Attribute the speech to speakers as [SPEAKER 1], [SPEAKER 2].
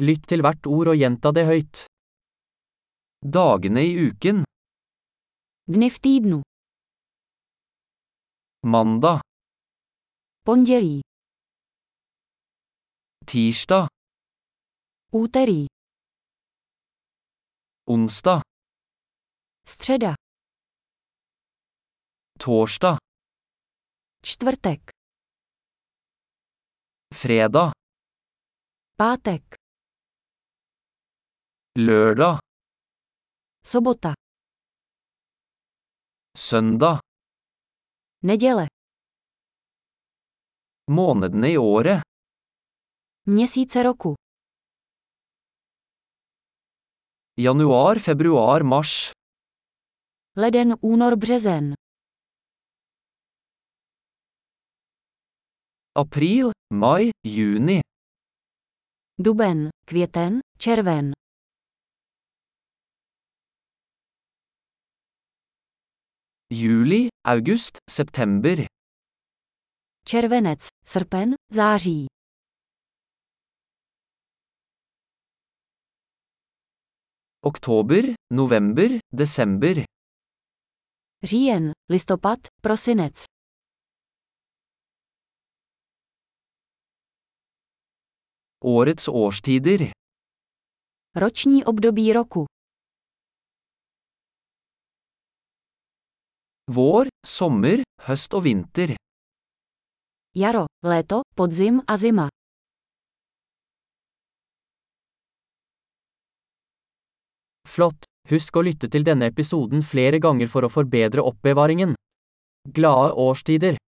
[SPEAKER 1] Lytt til hvert ord og gjenta det høyt. Dagene i uken.
[SPEAKER 2] Dny v týdnu,
[SPEAKER 1] Mandag,
[SPEAKER 2] pondělí,
[SPEAKER 1] tirsdag,
[SPEAKER 2] úterý,
[SPEAKER 1] onsdag,
[SPEAKER 2] středa,
[SPEAKER 1] torsdag,
[SPEAKER 2] čtvrtek,
[SPEAKER 1] fredag,
[SPEAKER 2] pátek,
[SPEAKER 1] lørdag,
[SPEAKER 2] sobota,
[SPEAKER 1] søndag.
[SPEAKER 2] neděle,
[SPEAKER 1] Månedene i året.
[SPEAKER 2] měsíce roku.
[SPEAKER 1] Januar, februar, mars.
[SPEAKER 2] Leden, únor, březen,
[SPEAKER 1] April, mai, juni.
[SPEAKER 2] duben, květen, červen,
[SPEAKER 1] Juli, august, september.
[SPEAKER 2] červenec, srpen, září,
[SPEAKER 1] Oktober, november, desember.
[SPEAKER 2] říjen, listopad, prosinec,
[SPEAKER 1] Årets årstider.
[SPEAKER 2] roční období roku,
[SPEAKER 1] Vår, sommer, høst og vinter.
[SPEAKER 2] jaro, léto, podzim a zima,
[SPEAKER 1] Flott! Husk å lytte til denne episoden flere ganger for å forbedre oppbevaringen. Glade årstider!